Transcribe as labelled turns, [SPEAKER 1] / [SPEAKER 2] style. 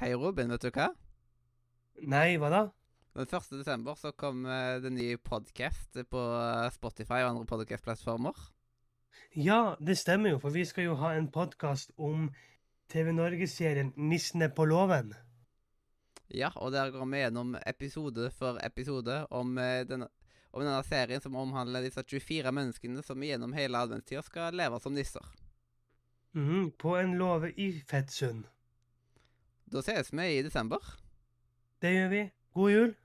[SPEAKER 1] Hei, Robin. Vet du hva?
[SPEAKER 2] Nei, hva da?
[SPEAKER 1] Den 1. desember så kom eh, det nye podcast på eh, Spotify og andre podcast-plattformer.
[SPEAKER 2] Ja, det stemmer jo, for vi skal jo ha en podkast om TV Norge-serien 'Nissene på låven'.
[SPEAKER 1] Ja, og der går vi gjennom episode for episode om, eh, denne, om denne serien som omhandler disse 24 menneskene som gjennom hele adventstida skal leve som nisser.
[SPEAKER 2] Mhm, på en låve i Fettsund.
[SPEAKER 1] Da ses vi i desember.
[SPEAKER 2] Det gjør vi. God jul!